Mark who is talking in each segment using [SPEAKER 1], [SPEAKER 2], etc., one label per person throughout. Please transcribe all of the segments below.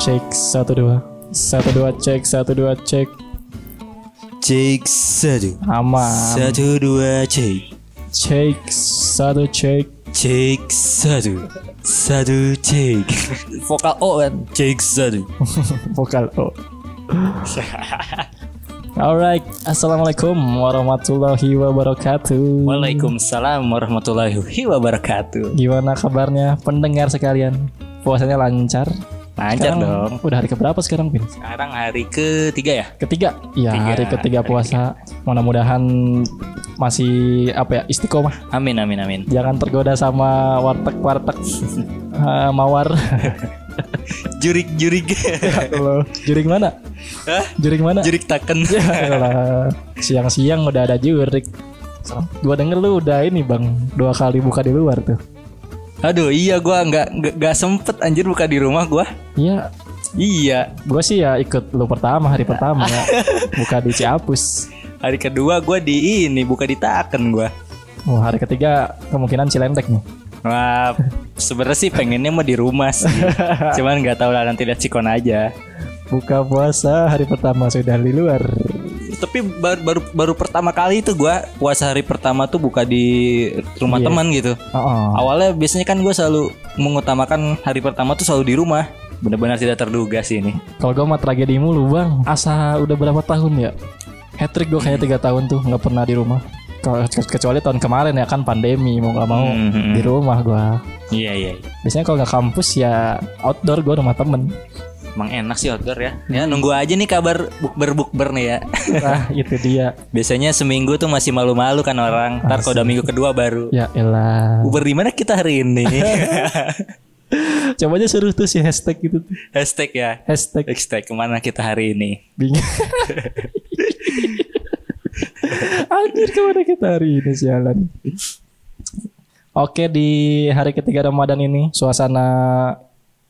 [SPEAKER 1] Cek satu dua, satu dua cek satu dua cek
[SPEAKER 2] Cek satu
[SPEAKER 1] aman.
[SPEAKER 2] Satu dua cek
[SPEAKER 1] Cek satu cek.
[SPEAKER 2] Cek satu Satu cek
[SPEAKER 3] Vokal O kan.
[SPEAKER 2] Cek satu
[SPEAKER 1] vokal O. Alright, assalamualaikum warahmatullahi wabarakatuh.
[SPEAKER 3] Waalaikumsalam warahmatullahi wabarakatuh.
[SPEAKER 1] Gimana kabarnya pendengar sekalian? Puasanya lancar?
[SPEAKER 3] Lancar
[SPEAKER 1] Sekarang
[SPEAKER 3] dong.
[SPEAKER 1] Udah hari keberapa sekarang, Bin?
[SPEAKER 3] Sekarang hari ketiga ya.
[SPEAKER 1] Ketiga. Ya,
[SPEAKER 3] Tiga,
[SPEAKER 1] hari ketiga
[SPEAKER 3] hari
[SPEAKER 1] puasa. Mudah-mudahan masih apa ya istiqomah.
[SPEAKER 3] Amin amin amin.
[SPEAKER 1] Jangan tergoda sama warteg-warteg eh, mawar.
[SPEAKER 3] Jurik jurik.
[SPEAKER 1] Lo juring mana?
[SPEAKER 3] Hah?
[SPEAKER 1] Juring mana?
[SPEAKER 3] jurik taken.
[SPEAKER 1] Ya elah. Siang-siang udah ada jurik. Gua denger lu udah ini bang dua kali buka di luar tuh.
[SPEAKER 3] Aduh iya gua nggak nggak- nggak sempet anjir buka di rumah gua.
[SPEAKER 1] Iya,
[SPEAKER 3] Iya.
[SPEAKER 1] gua sih ya ikut lu pertama hari pertama ya. buka di Ciapus.
[SPEAKER 3] Hari kedua gua di ini buka di taken gua.
[SPEAKER 1] Wah Oh, hari ketiga kemungkinan Cilendek nih.
[SPEAKER 3] Wah, sebenarnya sih pengennya mah di rumah sih. Cuman nggak tahu lah nanti lihat sikon aja.
[SPEAKER 1] Buka puasa hari pertama sudah di luar.
[SPEAKER 3] Tapi baru baru, baru pertama kali itu gua puasa hari pertama tuh buka di rumah
[SPEAKER 1] Iya.
[SPEAKER 3] teman gitu.
[SPEAKER 1] Oh,
[SPEAKER 3] Awalnya biasanya kan gue selalu mengutamakan hari pertama tuh selalu di rumah. Benar-benar tidak terduga sih ini.
[SPEAKER 1] kalau gua mah tragedi mulu bang. Asa udah berapa tahun ya? Hat-trick gua kayak tiga tahun tuh nggak pernah di rumah. Kalau- Kecuali tahun kemarin ya kan pandemi mau nggak mau
[SPEAKER 3] Mhm.
[SPEAKER 1] di rumah gua.
[SPEAKER 3] Iya iya.
[SPEAKER 1] Biasanya kalau nggak kampus ya outdoor gua rumah temen.
[SPEAKER 3] Emang enak sih outdoor ya. Ya nunggu aja nih kabar bukber bukber nih ya.
[SPEAKER 1] Nah itu dia.
[SPEAKER 3] Biasanya seminggu tuh masih malu-malu kan orang. Ntar kalau udah minggu kedua baru.
[SPEAKER 1] Ya elah.
[SPEAKER 3] Bukber di mana kita hari ini?
[SPEAKER 1] Coba aja suruh tuh si hashtag gitu. tuh.
[SPEAKER 3] Hashtag ya.
[SPEAKER 1] Hashtag
[SPEAKER 3] Hashtag kemana kita hari ini?
[SPEAKER 1] bingung. Anjir kemana kita hari ini sialan. Oke di hari ketiga Ramadan ini suasana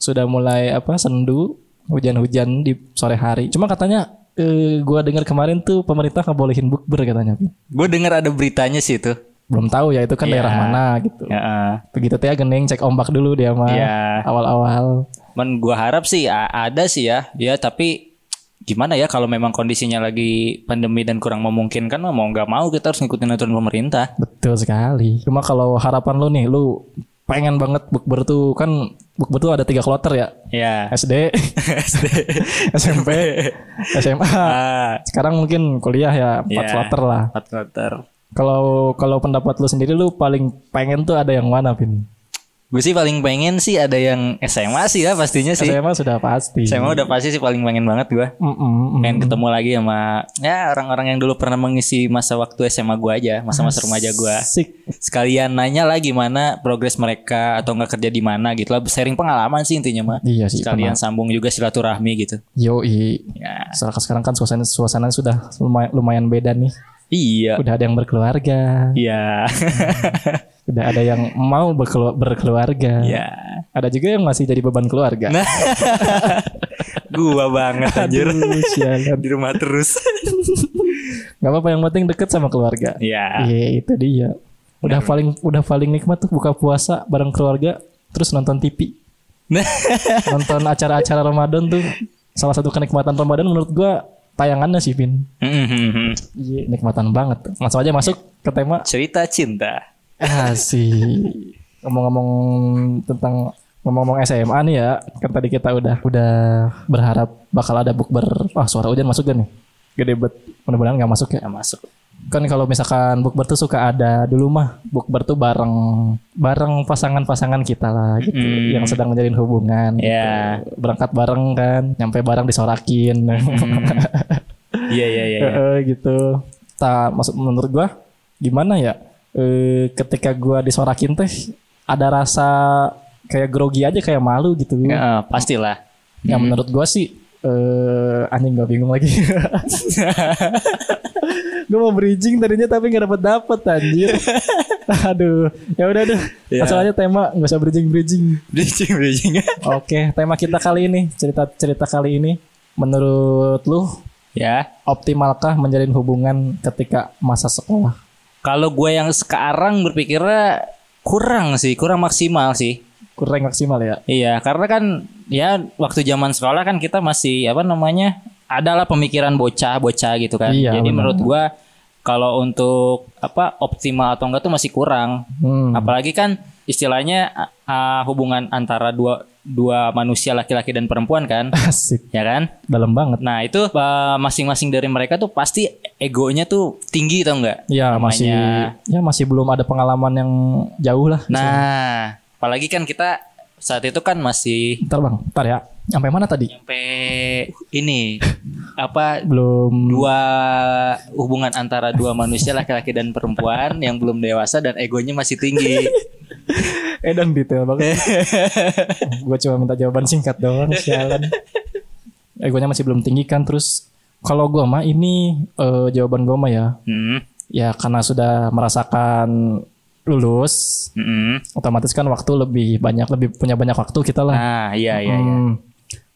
[SPEAKER 1] sudah mulai apa sendu hujan-hujan di sore hari. Cuma katanya eh, gua dengar kemarin tuh pemerintah ngebolehin bukber katanya. Pi.
[SPEAKER 3] Gue dengar ada beritanya sih itu.
[SPEAKER 1] Belum tahu ya itu kan daerah mana gitu.
[SPEAKER 3] Ya. eh.
[SPEAKER 1] Begitu teh gening cek ombak dulu dia mah
[SPEAKER 3] Ya.
[SPEAKER 1] awal-awal.
[SPEAKER 3] Men gua harap sih a- ada sih ya. Ya tapi gimana ya kalau memang kondisinya lagi pandemi dan kurang memungkinkan mah mau nggak mau kita harus ngikutin aturan pemerintah.
[SPEAKER 1] Betul sekali. Cuma kalau harapan lu nih, lu pengen banget bukber tuh kan bukber tuh ada tiga kloter ya.
[SPEAKER 3] Ya.
[SPEAKER 1] SD,
[SPEAKER 3] SD.
[SPEAKER 1] SMP, SMA.
[SPEAKER 3] Ah,
[SPEAKER 1] Sekarang mungkin kuliah ya empat
[SPEAKER 3] Ya.
[SPEAKER 1] kloter lah.
[SPEAKER 3] empat kloter.
[SPEAKER 1] Kalau kalau pendapat lu sendiri lu paling pengen tuh ada yang mana, Vin?
[SPEAKER 3] Gue sih paling pengen sih ada yang SMA sih ya pastinya sih.
[SPEAKER 1] SMA sudah pasti.
[SPEAKER 3] SMA udah pasti sih paling pengen banget gua.
[SPEAKER 1] Mm-mm, mm.
[SPEAKER 3] Pengen ketemu lagi sama ya orang-orang yang dulu pernah mengisi masa waktu SMA gua aja, masa-masa remaja gua.
[SPEAKER 1] Asik.
[SPEAKER 3] Sekalian nanya lah gimana progres mereka atau nggak kerja di mana gitu lah, sharing pengalaman sih intinya mah.
[SPEAKER 1] Iya sih.
[SPEAKER 3] sekalian sambung juga silaturahmi gitu.
[SPEAKER 1] Yoi.
[SPEAKER 3] Ya.
[SPEAKER 1] Sekarang sekarang kan suasana suasana sudah lumayan, lumayan beda nih.
[SPEAKER 3] Iya.
[SPEAKER 1] Udah ada yang berkeluarga.
[SPEAKER 3] Iya.
[SPEAKER 1] Udah ada yang mau berkelu- berkeluarga.
[SPEAKER 3] Iya.
[SPEAKER 1] Ada juga yang masih jadi beban keluarga.
[SPEAKER 3] Nah. Gua banget anjir.
[SPEAKER 1] Aduh, sialan.
[SPEAKER 3] Di rumah terus.
[SPEAKER 1] Gak apa-apa yang penting deket sama keluarga.
[SPEAKER 3] Iya.
[SPEAKER 1] Iya itu dia. Udah paling udah paling nikmat tuh buka puasa bareng keluarga terus nonton TV. Iya.
[SPEAKER 3] Nah.
[SPEAKER 1] Nonton acara-acara Ramadan tuh salah satu kenikmatan Ramadan menurut gua tayangannya sih Vin. Iya, nikmatan banget. Langsung aja masuk ke tema.
[SPEAKER 3] Cerita cinta.
[SPEAKER 1] Ah sih. Ngomong-ngomong tentang ngomong-ngomong SMA nih ya. Kan tadi kita udah udah berharap bakal ada bukber. Wah, suara hujan masuk gak nih? Gede bet. Mudah-mudahan nggak masuk ya.
[SPEAKER 3] Gak masuk.
[SPEAKER 1] kan kalau misalkan bukber tuh suka ada dulu mah bukber tuh bareng bareng pasangan-pasangan kita lah gitu
[SPEAKER 3] Mm.
[SPEAKER 1] yang sedang menjalin hubungan gitu.
[SPEAKER 3] Ya.
[SPEAKER 1] berangkat bareng kan nyampe bareng disorakin Hmm.
[SPEAKER 3] Iya iya iya. iya.
[SPEAKER 1] Eh, gitu tak maksud menurut gua gimana ya Eh, ketika gua disorakin teh ada rasa kayak grogi aja kayak malu gitu
[SPEAKER 3] Heeh, Eh, pastilah.
[SPEAKER 1] yang
[SPEAKER 3] Hmm.
[SPEAKER 1] menurut gua sih eh anjing gua bingung lagi gue mau bridging tadinya tapi nggak dapet dapet anjir aduh ya udah deh
[SPEAKER 3] Ya.
[SPEAKER 1] langsung aja tema nggak usah bridging bridging
[SPEAKER 3] Bridging bridging.
[SPEAKER 1] oke tema kita kali ini cerita cerita kali ini menurut lu
[SPEAKER 3] ya.
[SPEAKER 1] optimalkah menjalin hubungan ketika masa sekolah
[SPEAKER 3] Kalau gue yang sekarang berpikirnya kurang sih, kurang maksimal sih.
[SPEAKER 1] kurang maksimal ya.
[SPEAKER 3] Iya, karena kan ya waktu zaman sekolah kan kita masih apa namanya? adalah pemikiran bocah-bocah gitu kan.
[SPEAKER 1] Iya,
[SPEAKER 3] Jadi
[SPEAKER 1] benar.
[SPEAKER 3] menurut gua kalau untuk apa optimal atau enggak tuh masih kurang.
[SPEAKER 1] Hmm.
[SPEAKER 3] Apalagi kan istilahnya a- a- hubungan antara dua dua manusia laki-laki dan perempuan kan,
[SPEAKER 1] Asik,
[SPEAKER 3] ya kan?
[SPEAKER 1] dalam banget.
[SPEAKER 3] Nah, itu eh, masing-masing dari mereka tuh pasti egonya tuh tinggi tau enggak?
[SPEAKER 1] Ya masih ya masih belum ada pengalaman yang jauh lah.
[SPEAKER 3] Nah, apalagi kan kita saat itu kan masih
[SPEAKER 1] Ntar bang, ntar ya. Sampai mana tadi?
[SPEAKER 3] sampai ini apa
[SPEAKER 1] Belum.
[SPEAKER 3] dua hubungan antara dua manusia laki-laki dan perempuan yang belum dewasa dan egonya masih tinggi.
[SPEAKER 1] Eh dan detail banget. gue cuma minta jawaban singkat doang. Sialan. Egonya masih belum tinggi kan. Terus kalau gue mah ini eh, jawaban gue mah ya.
[SPEAKER 3] Hmm,
[SPEAKER 1] Ya karena sudah merasakan lulus,
[SPEAKER 3] hmm.
[SPEAKER 1] otomatis kan waktu lebih banyak, lebih punya banyak waktu kita lah.
[SPEAKER 3] Nah, iya iya iya.
[SPEAKER 1] Hmm.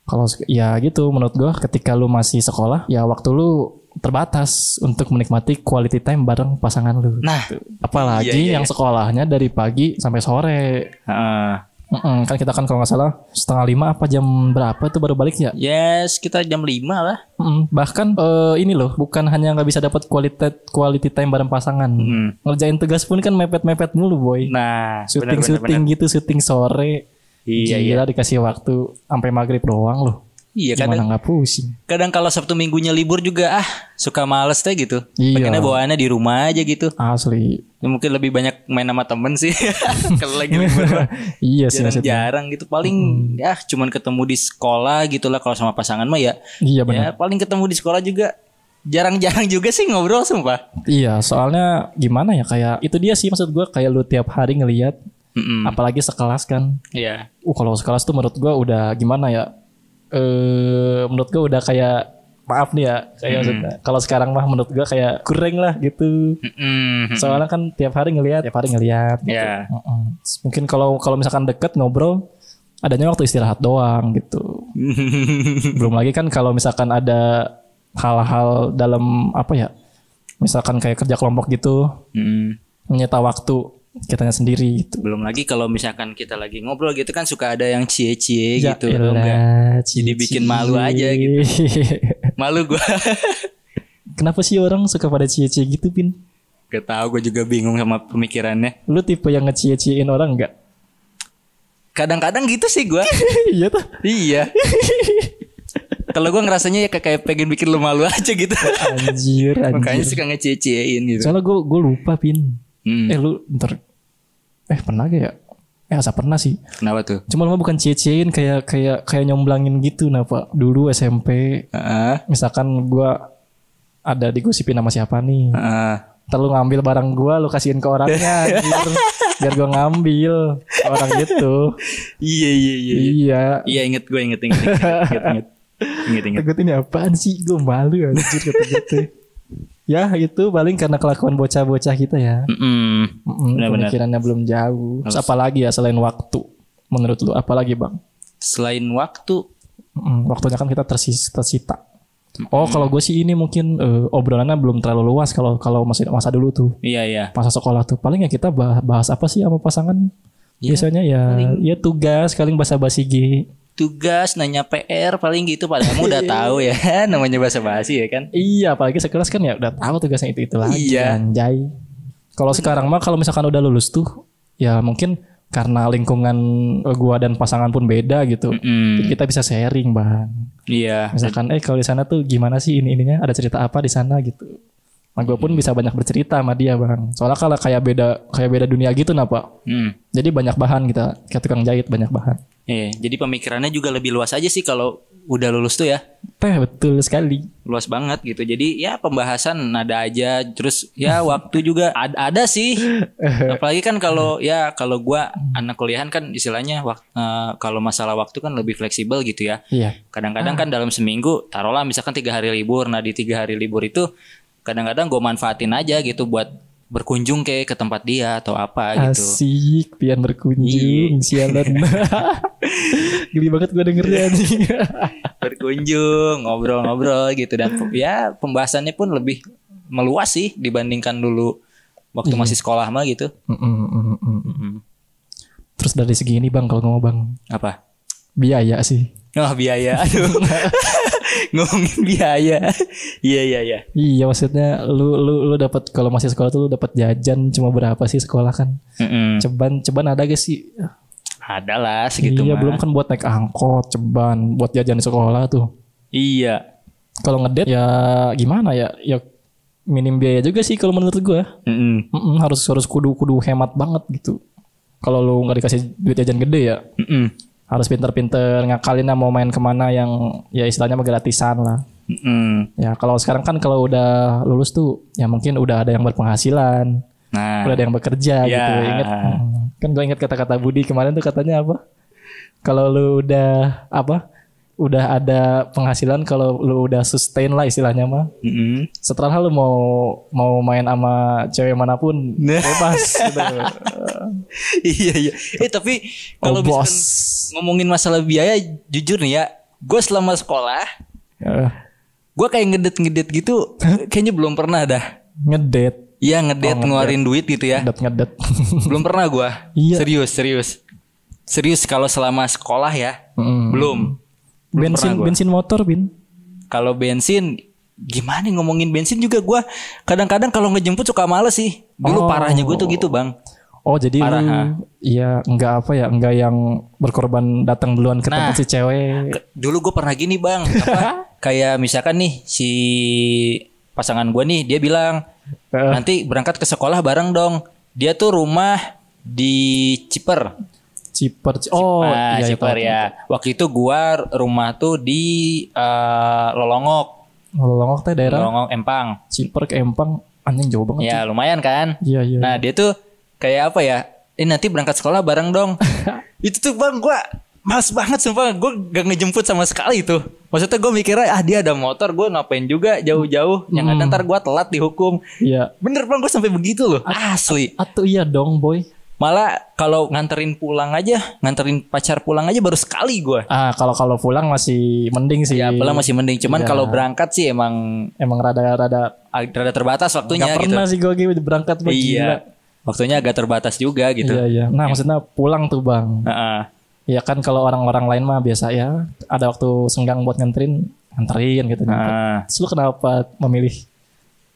[SPEAKER 1] Kalau sek- ya gitu menurut gua ketika lu masih sekolah ya waktu lu terbatas untuk menikmati quality time bareng pasangan lu.
[SPEAKER 3] Nah,
[SPEAKER 1] Apalagi
[SPEAKER 3] iya, iya,
[SPEAKER 1] yang sekolahnya dari pagi sampai sore.
[SPEAKER 3] heeh.
[SPEAKER 1] Mm-mm, kan kita kan kalau nggak salah setengah lima apa jam berapa tuh baru balik ya.
[SPEAKER 3] yes, kita jam 5 lah.
[SPEAKER 1] Mm-mm, bahkan eh, ini loh bukan hanya nggak bisa dapat quality quality time bareng pasangan.
[SPEAKER 3] Hmm.
[SPEAKER 1] Ngerjain tugas pun kan mepet-mepet mulu boy.
[SPEAKER 3] Nah, benar, benar,
[SPEAKER 1] Syuting-syuting
[SPEAKER 3] benar.
[SPEAKER 1] gitu, syuting sore.
[SPEAKER 3] Iya, iya.
[SPEAKER 1] Gila dikasih waktu sampai maghrib doang loh.
[SPEAKER 3] Iya, kadang
[SPEAKER 1] Gimana nggak pusing?
[SPEAKER 3] kadang kalau Sabtu Minggunya libur juga ah, suka males teh gitu.
[SPEAKER 1] Iya.
[SPEAKER 3] Pengennya bawaannya di rumah aja gitu.
[SPEAKER 1] Asli.
[SPEAKER 3] Mungkin lebih banyak main sama temen sih. kalau lagi libur.
[SPEAKER 1] iya sih
[SPEAKER 3] jarang,
[SPEAKER 1] maksudnya. Hmm.
[SPEAKER 3] jarang gitu paling ya cuman ketemu di sekolah gitulah kalau sama pasangan mah ya
[SPEAKER 1] Iya
[SPEAKER 3] ya
[SPEAKER 1] benar.
[SPEAKER 3] paling ketemu di sekolah juga jarang-jarang juga sih ngobrol sumpah
[SPEAKER 1] Iya, soalnya gimana ya kayak itu dia sih maksud gua kayak lu tiap hari ngelihat
[SPEAKER 3] Mm-mm.
[SPEAKER 1] apalagi sekelas kan.
[SPEAKER 3] Iya
[SPEAKER 1] Uh kalau sekelas tuh menurut gua udah gimana ya? Eh menurut gua udah kayak maaf nih ya, kayak
[SPEAKER 3] Hmm.
[SPEAKER 1] maksudnya kalau sekarang mah menurut gua kayak kurang lah gitu.
[SPEAKER 3] Mm-mm.
[SPEAKER 1] Soalnya kan tiap hari ngelihat, tiap hari ngelihat. gitu.
[SPEAKER 3] Iya.
[SPEAKER 1] Mm-mm. Mungkin kalau kalau misalkan deket ngobrol adanya waktu istirahat doang gitu. belum lagi kan kalau misalkan ada hal-hal dalam apa ya misalkan kayak kerja kelompok gitu
[SPEAKER 3] Mm.
[SPEAKER 1] menyita waktu kitanya sendiri gitu
[SPEAKER 3] belum lagi kalau misalkan kita lagi ngobrol gitu kan suka ada yang cie-cie
[SPEAKER 1] Ya
[SPEAKER 3] gitu
[SPEAKER 1] elah,
[SPEAKER 3] atau enggak
[SPEAKER 1] cici.
[SPEAKER 3] bikin malu aja gitu. malu gua
[SPEAKER 1] kenapa sih orang suka pada cie-cie gitu pin
[SPEAKER 3] gak tau gue juga bingung sama pemikirannya
[SPEAKER 1] lu tipe yang ngecie-ciein orang nggak
[SPEAKER 3] kadang-kadang gitu sih gua
[SPEAKER 1] iya tuh
[SPEAKER 3] iya kalau gua ngerasanya ya kayak pengen bikin lu malu aja gitu
[SPEAKER 1] anjir
[SPEAKER 3] Makanya
[SPEAKER 1] anjir
[SPEAKER 3] suka ngecie-ciein gitu.
[SPEAKER 1] soalnya gue gue lupa pin
[SPEAKER 3] Hmm.
[SPEAKER 1] eh lu ntar eh pernah gak ya eh asa pernah sih
[SPEAKER 3] Kenapa tuh?
[SPEAKER 1] Cuma lu mah bukan cie-ciein kayak kayak kayak nyomblangin gitu nah Pak. Dulu SMP
[SPEAKER 3] Heeh.
[SPEAKER 1] misalkan gua ada digosipin sama siapa nih.
[SPEAKER 3] Heeh.
[SPEAKER 1] Ntar lu ngambil barang gua lu kasihin ke
[SPEAKER 3] Ya.
[SPEAKER 1] orangnya anjir. biar gua ngambil ke orang itu.
[SPEAKER 3] Iya iya iya. iya.
[SPEAKER 1] iya.
[SPEAKER 3] Iya inget gue inget inget inget inget inget inget. inget.
[SPEAKER 1] Tegut ini apaan sih? Gue malu anjir kata gitu. ya itu paling karena kelakuan bocah-bocah kita ya. Mm-mm,
[SPEAKER 3] Mm-mm. Benar-benar.
[SPEAKER 1] Pemikirannya belum jauh. Terus apalagi ya selain waktu menurut lu apalagi bang?
[SPEAKER 3] Selain waktu,
[SPEAKER 1] Mm, waktunya kan kita tersis- tersita. Oh, kalau gue sih ini mungkin eh, obrolannya belum terlalu luas kalau kalau masih masa dulu tuh
[SPEAKER 3] iya iya.
[SPEAKER 1] masa sekolah tuh paling ya kita bah- bahas apa sih sama pasangan
[SPEAKER 3] Ya,
[SPEAKER 1] biasanya ya ya tugas paling bahasa basi G
[SPEAKER 3] Tugas nanya PR paling gitu padahal kamu udah tahu ya namanya bahasa basi ya kan.
[SPEAKER 1] iya apalagi sekelas kan ya udah tahu tugasnya itu itu lagi
[SPEAKER 3] Iya.
[SPEAKER 1] anjay kalau sekarang mah kalau misalkan udah lulus tuh ya mungkin karena lingkungan eh, gua dan pasangan pun beda gitu
[SPEAKER 3] Mm.
[SPEAKER 1] Jadi kita bisa sharing bang
[SPEAKER 3] Iya.
[SPEAKER 1] misalkan eh kalau di sana tuh gimana sih ini ininya ada cerita apa di sana gitu nah gue pun bisa banyak bercerita sama dia bang soalnya kalau kayak beda kayak beda dunia gitu nah pak
[SPEAKER 3] Mm.
[SPEAKER 1] jadi banyak bahan kita kayak tukang jahit banyak bahan
[SPEAKER 3] Iya. Jadi pemikirannya juga lebih luas aja sih kalau udah lulus tuh ya.
[SPEAKER 1] teh betul sekali
[SPEAKER 3] luas banget gitu jadi ya pembahasan ada aja terus ya waktu juga ad- ada sih apalagi kan kalau ya kalau gua anak kuliahan kan istilahnya wak- eh, kalau masalah waktu kan lebih fleksibel gitu ya
[SPEAKER 1] iya
[SPEAKER 3] kadang-kadang kan dalam seminggu taruhlah misalkan tiga hari libur nah di tiga hari libur itu kadang-kadang gue manfaatin aja gitu buat berkunjung ke ke tempat dia atau apa gitu
[SPEAKER 1] asik pian berkunjung sialan geli banget gue dengernya anjing.
[SPEAKER 3] berkunjung ngobrol-ngobrol gitu dan pe- ya pembahasannya pun lebih meluas sih
[SPEAKER 1] Hmm.
[SPEAKER 3] dibandingkan dulu waktu masih sekolah mah gitu
[SPEAKER 1] Mm, mm, mm, mm. Terus dari segi ini bang kalau ngomong bang
[SPEAKER 3] Apa?
[SPEAKER 1] biaya sih.
[SPEAKER 3] Oh biaya, aduh. Ngomongin biaya. Iya iya iya.
[SPEAKER 1] Iya maksudnya lu lu lu dapat kalau masih sekolah tuh lu dapat jajan cuma berapa sih sekolah kan?
[SPEAKER 3] Mm-mm.
[SPEAKER 1] Ceban ceban ada gak sih?
[SPEAKER 3] Ada lah segitu
[SPEAKER 1] iya
[SPEAKER 3] mah.
[SPEAKER 1] belum kan buat naik angkot ceban buat jajan di sekolah tuh.
[SPEAKER 3] Iya.
[SPEAKER 1] Kalau ngedate ya gimana ya ya minim biaya juga sih kalau menurut gua.
[SPEAKER 3] Mm-mm.
[SPEAKER 1] Mm-mm, harus harus kudu kudu hemat banget gitu. Kalau lu nggak dikasih duit jajan gede ya
[SPEAKER 3] Mm-mm.
[SPEAKER 1] harus pinter-pinter ngakalin lah mau main kemana yang ya istilahnya mah gratisan lah.
[SPEAKER 3] Mm-mm.
[SPEAKER 1] Ya kalau sekarang kan kalau udah lulus tuh ya mungkin udah ada yang berpenghasilan,
[SPEAKER 3] Nah,
[SPEAKER 1] udah ada yang bekerja
[SPEAKER 3] Ya.
[SPEAKER 1] gitu. Ingat hmm, kan gue ingat kata-kata Budi kemarin tuh katanya apa? Kalau lu udah apa? Udah ada penghasilan kalau lu udah sustain lah istilahnya mah.
[SPEAKER 3] Mm-mm.
[SPEAKER 1] Setelah lu mau mau main sama cewek manapun
[SPEAKER 3] Nah.
[SPEAKER 1] bebas gitu.
[SPEAKER 3] iya iya. Eh tapi
[SPEAKER 1] Kalau
[SPEAKER 3] kalau
[SPEAKER 1] Oh, bos.
[SPEAKER 3] misalkan ngomongin masalah biaya, jujur nih ya, gue selama sekolah,
[SPEAKER 1] Eh,
[SPEAKER 3] gue kayak ngedet-ngedet gitu, kayaknya belum pernah dah.
[SPEAKER 1] Oh, ngedet,
[SPEAKER 3] Iya ngedet ngeluarin duit gitu ya.
[SPEAKER 1] ngedet ngedet.
[SPEAKER 3] belum pernah gue.
[SPEAKER 1] Iya.
[SPEAKER 3] Serius serius. Serius kalau selama sekolah ya,
[SPEAKER 1] Mm.
[SPEAKER 3] belum.
[SPEAKER 1] bensin
[SPEAKER 3] pernah gua.
[SPEAKER 1] bensin motor, Bin.
[SPEAKER 3] Kalau bensin gimana nih ngomongin bensin juga gue kadang-kadang kalau ngejemput suka males sih dulu
[SPEAKER 1] Oh.
[SPEAKER 3] parahnya gue tuh gitu bang
[SPEAKER 1] Oh jadi
[SPEAKER 3] Parah,
[SPEAKER 1] lu
[SPEAKER 3] ha?
[SPEAKER 1] Iya nggak apa ya nggak yang berkorban datang duluan ke tempat
[SPEAKER 3] Nah.
[SPEAKER 1] si cewek
[SPEAKER 3] Ke- dulu gue pernah gini bang apa, kayak misalkan nih si pasangan gue nih dia bilang
[SPEAKER 1] Eh.
[SPEAKER 3] nanti berangkat ke sekolah bareng dong dia tuh rumah di Ciper
[SPEAKER 1] ciper ci- oh
[SPEAKER 3] Nah,
[SPEAKER 1] iya itu.
[SPEAKER 3] Ciper ya waktu itu gua rumah tuh di eh, Lolongok
[SPEAKER 1] Lolongok teh daerah
[SPEAKER 3] Lolongok Empang
[SPEAKER 1] ciper ke Empang anjing jauh banget
[SPEAKER 3] ya lumayan kan
[SPEAKER 1] iya iya
[SPEAKER 3] nah dia tuh kayak apa ya eh nanti berangkat sekolah bareng dong itu tuh bang gua Males banget sumpah Gue gak ngejemput sama sekali tuh Maksudnya gue mikirnya Ah dia ada motor Gue ngapain juga jauh-jauh Yang
[SPEAKER 1] Hmm.
[SPEAKER 3] ada ntar gue telat dihukum
[SPEAKER 1] iya
[SPEAKER 3] Bener bang gue sampai begitu loh Asli
[SPEAKER 1] atau iya dong boy
[SPEAKER 3] Malah kalau nganterin pulang aja Nganterin pacar pulang aja baru sekali gue
[SPEAKER 1] ah kalau kalau pulang masih mending sih
[SPEAKER 3] Ya pulang masih mending Cuman
[SPEAKER 1] Iya.
[SPEAKER 3] kalau berangkat sih emang
[SPEAKER 1] emang rada-rada
[SPEAKER 3] ag- Rada terbatas waktunya
[SPEAKER 1] nggak
[SPEAKER 3] gitu
[SPEAKER 1] pernah sih gue gitu berangkat gua gila.
[SPEAKER 3] Iya Waktunya agak terbatas juga gitu
[SPEAKER 1] iya iya nah maksudnya pulang tuh bang
[SPEAKER 3] Heeh.
[SPEAKER 1] ya kan kalau orang-orang lain mah biasa ya ada waktu senggang buat nganterin nganterin gitu nyampe.
[SPEAKER 3] Heeh.
[SPEAKER 1] Terus lu kenapa memilih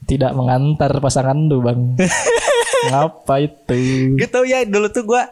[SPEAKER 1] tidak mengantar pasangan lu bang? Ngapa itu?
[SPEAKER 3] gitu ya dulu tuh gua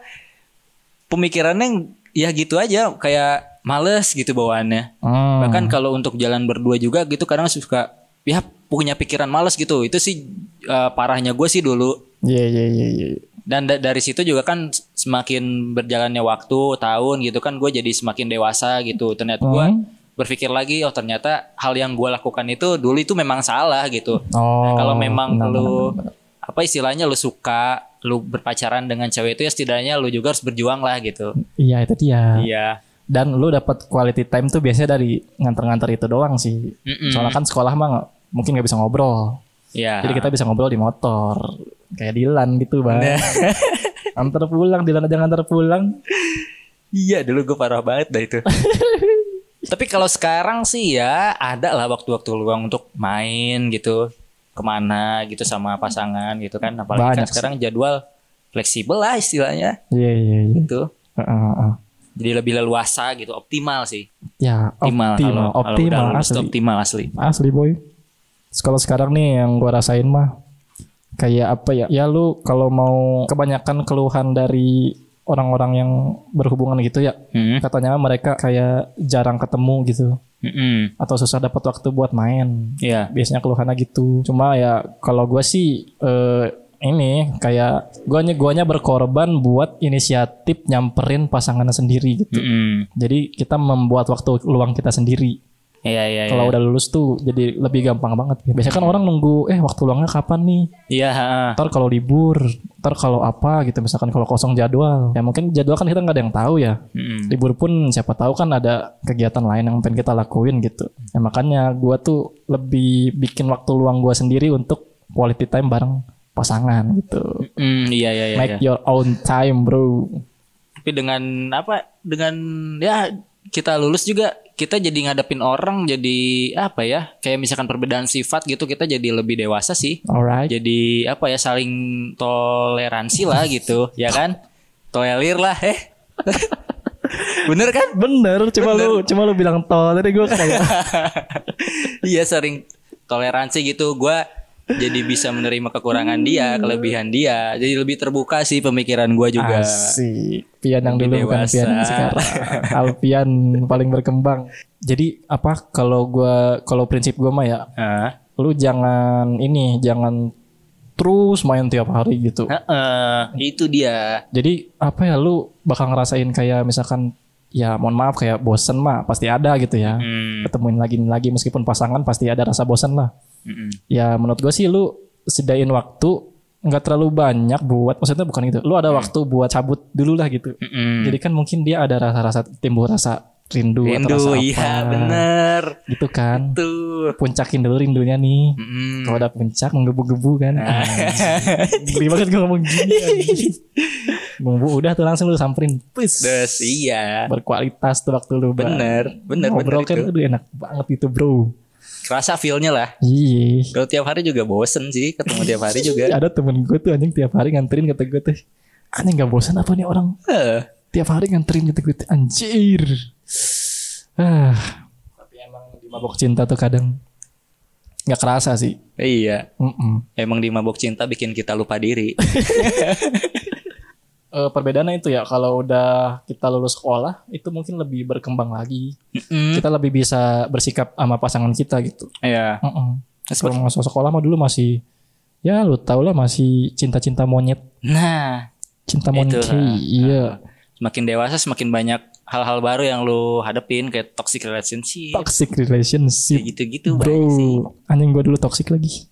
[SPEAKER 3] pemikirannya ya gitu aja kayak males gitu bawaannya
[SPEAKER 1] Hmm.
[SPEAKER 3] bahkan kalau untuk jalan berdua juga gitu kadang suka ya punya pikiran males gitu itu sih eh, parahnya gue sih dulu
[SPEAKER 1] Iya iya iya. iya.
[SPEAKER 3] dan da- dari situ juga kan semakin berjalannya waktu tahun gitu kan gue jadi semakin dewasa gitu ternyata gue
[SPEAKER 1] Hmm.
[SPEAKER 3] berpikir lagi oh ternyata hal yang gue lakukan itu dulu itu memang salah gitu
[SPEAKER 1] Oh.
[SPEAKER 3] kalau memang
[SPEAKER 1] benar,
[SPEAKER 3] lu
[SPEAKER 1] benar, benar.
[SPEAKER 3] apa istilahnya lu suka lu berpacaran dengan cewek itu ya setidaknya lu juga harus berjuang lah gitu
[SPEAKER 1] Iya itu dia.
[SPEAKER 3] iya
[SPEAKER 1] Dan lu dapat quality time tuh biasanya dari nganter-nganter itu doang sih.
[SPEAKER 3] Mm-mm.
[SPEAKER 1] Soalnya kan sekolah mah nggak- mungkin nggak bisa ngobrol.
[SPEAKER 3] iya
[SPEAKER 1] Jadi kita bisa ngobrol di motor. Kayak Dilan gitu
[SPEAKER 3] Nah.
[SPEAKER 1] bang. antar pulang Dilan aja nganter pulang.
[SPEAKER 3] iya dulu gue parah banget dah itu tapi kalau sekarang sih ya ada lah waktu-waktu luang untuk main gitu kemana gitu sama pasangan gitu kan apalagi kan
[SPEAKER 1] Banyak sih.
[SPEAKER 3] sekarang jadwal fleksibel lah istilahnya
[SPEAKER 1] Iya iya iya.
[SPEAKER 3] gitu
[SPEAKER 1] Heeh, heeh.
[SPEAKER 3] jadi lebih leluasa gitu optimal sih
[SPEAKER 1] Ya optimal
[SPEAKER 3] optimal
[SPEAKER 1] optimal,
[SPEAKER 3] kalau- kalau udah lulus tuh
[SPEAKER 1] asli.
[SPEAKER 3] optimal asli
[SPEAKER 1] Asli boy. Terus kalau sekarang nih yang gua rasain mah kayak apa ya? Ya lu kalau mau kebanyakan keluhan dari orang-orang yang berhubungan gitu ya,
[SPEAKER 3] Mm-mm.
[SPEAKER 1] katanya mereka kayak jarang ketemu gitu
[SPEAKER 3] Mm-mm.
[SPEAKER 1] atau susah dapat waktu buat main.
[SPEAKER 3] hmm, iya
[SPEAKER 1] Biasanya keluhannya gitu. Cuma ya kalau gua sih eh, ini kayak guanya guanya berkorban buat inisiatif nyamperin pasangannya sendiri gitu.
[SPEAKER 3] Mm-mm.
[SPEAKER 1] Jadi kita membuat waktu luang kita sendiri.
[SPEAKER 3] Iya iya iya.
[SPEAKER 1] Kalau udah lulus tuh jadi lebih gampang banget. Biasanya kan orang nunggu, eh waktu luangnya kapan nih?
[SPEAKER 3] Iya, heeh.
[SPEAKER 1] Ntar kalau libur, ntar kalau apa gitu. Misalkan kalau kosong jadwal. Ya mungkin jadwal kan kita nggak ada yang tahu ya.
[SPEAKER 3] Mm-mm.
[SPEAKER 1] Libur pun siapa tahu kan ada kegiatan lain yang pengen kita lakuin gitu. Ya makanya gua tuh lebih bikin waktu luang gua sendiri untuk quality time bareng pasangan gitu.
[SPEAKER 3] Mm, iya iya iya. iya.
[SPEAKER 1] Make your own time bro.
[SPEAKER 3] Tapi dengan apa? Dengan ya kita lulus juga kita jadi ngadepin orang jadi apa ya? Kayak misalkan perbedaan sifat gitu kita jadi lebih dewasa sih.
[SPEAKER 1] Alright.
[SPEAKER 3] Jadi apa ya saling toleransi lah gitu, ya kan? toelir lah eh bener kan
[SPEAKER 1] Bener, cuma lu cuma lu bilang tol tadi ya. gue kayak
[SPEAKER 3] iya sering toleransi gitu gua jadi bisa menerima kekurangan dia kelebihan dia jadi lebih terbuka sih pemikiran gua juga
[SPEAKER 1] Asik. Pian yang dulu bukan
[SPEAKER 3] dewasa.
[SPEAKER 1] Pian yang sekarang. Alpian paling berkembang. Jadi apa kalau gua kalau prinsip gua mah ya
[SPEAKER 3] Heeh.
[SPEAKER 1] lu jangan ini jangan terus main tiap hari gitu.
[SPEAKER 3] Heeh, itu dia
[SPEAKER 1] Jadi apa ya lu bakal ngerasain kayak misalkan ya mohon maaf kayak bosen mah pasti ada gitu ya.
[SPEAKER 3] Hmm,
[SPEAKER 1] Ketemuin lagi lagi meskipun pasangan pasti ada rasa bosen lah.
[SPEAKER 3] mm-mm.
[SPEAKER 1] Ya menurut gue sih lu sedain waktu nggak terlalu banyak buat maksudnya bukan gitu. Lu ada
[SPEAKER 3] Hmm.
[SPEAKER 1] waktu buat cabut dulu lah gitu.
[SPEAKER 3] Mm-mm.
[SPEAKER 1] Jadi kan mungkin dia ada rasa-rasa timbul rasa rindu, atau rasa
[SPEAKER 3] rindu
[SPEAKER 1] apa.
[SPEAKER 3] iya bener
[SPEAKER 1] Gitu kan.
[SPEAKER 3] tuh Hmm,
[SPEAKER 1] Puncakin dulu rindunya nih.
[SPEAKER 3] Mm-mm.
[SPEAKER 1] Kalau ada puncak menggebu-gebu kan.
[SPEAKER 3] Ah.
[SPEAKER 1] Anjing. Geli banget gue ngomong gini. anjing. Bumbu udah tuh langsung lu samperin. Pus.
[SPEAKER 3] Des, iya
[SPEAKER 1] Berkualitas tuh waktu lu. Bang.
[SPEAKER 3] bener bener bener
[SPEAKER 1] Ngobrol kan
[SPEAKER 3] itu
[SPEAKER 1] aduh, enak banget itu bro.
[SPEAKER 3] kerasa feelnya lah
[SPEAKER 1] Iya.
[SPEAKER 3] kalau tiap hari juga bosen sih ketemu tiap hari juga
[SPEAKER 1] Ada temen gue tuh anjing tiap hari nganterin kata gue tuh. Anjing gak bosan apa nih orang.
[SPEAKER 3] Heeh.
[SPEAKER 1] Tiap hari nganterin kata gue tuh. Anjir. Ah. Tapi emang di mabok cinta tuh kadang. Gak kerasa sih.
[SPEAKER 3] iya
[SPEAKER 1] Mm-mm.
[SPEAKER 3] emang di mabok cinta bikin kita lupa diri
[SPEAKER 1] Eh, perbedaannya itu ya kalau udah kita lulus sekolah itu mungkin lebih berkembang lagi
[SPEAKER 3] Mm-mm.
[SPEAKER 1] kita lebih bisa bersikap sama pasangan kita gitu
[SPEAKER 3] iya
[SPEAKER 1] Mm-mm.
[SPEAKER 3] Seperti-
[SPEAKER 1] sebelum masuk sekolah mah dulu masih ya lu tau lah masih cinta-cinta monyet
[SPEAKER 3] nah
[SPEAKER 1] cinta monyet
[SPEAKER 3] Itulah.
[SPEAKER 1] Hi, iya
[SPEAKER 3] semakin dewasa semakin banyak hal-hal baru yang lu hadepin kayak toxic relationship
[SPEAKER 1] toxic
[SPEAKER 3] kayak
[SPEAKER 1] relationship
[SPEAKER 3] gitu-gitu banyak sih
[SPEAKER 1] bro anjing gua dulu toxic lagi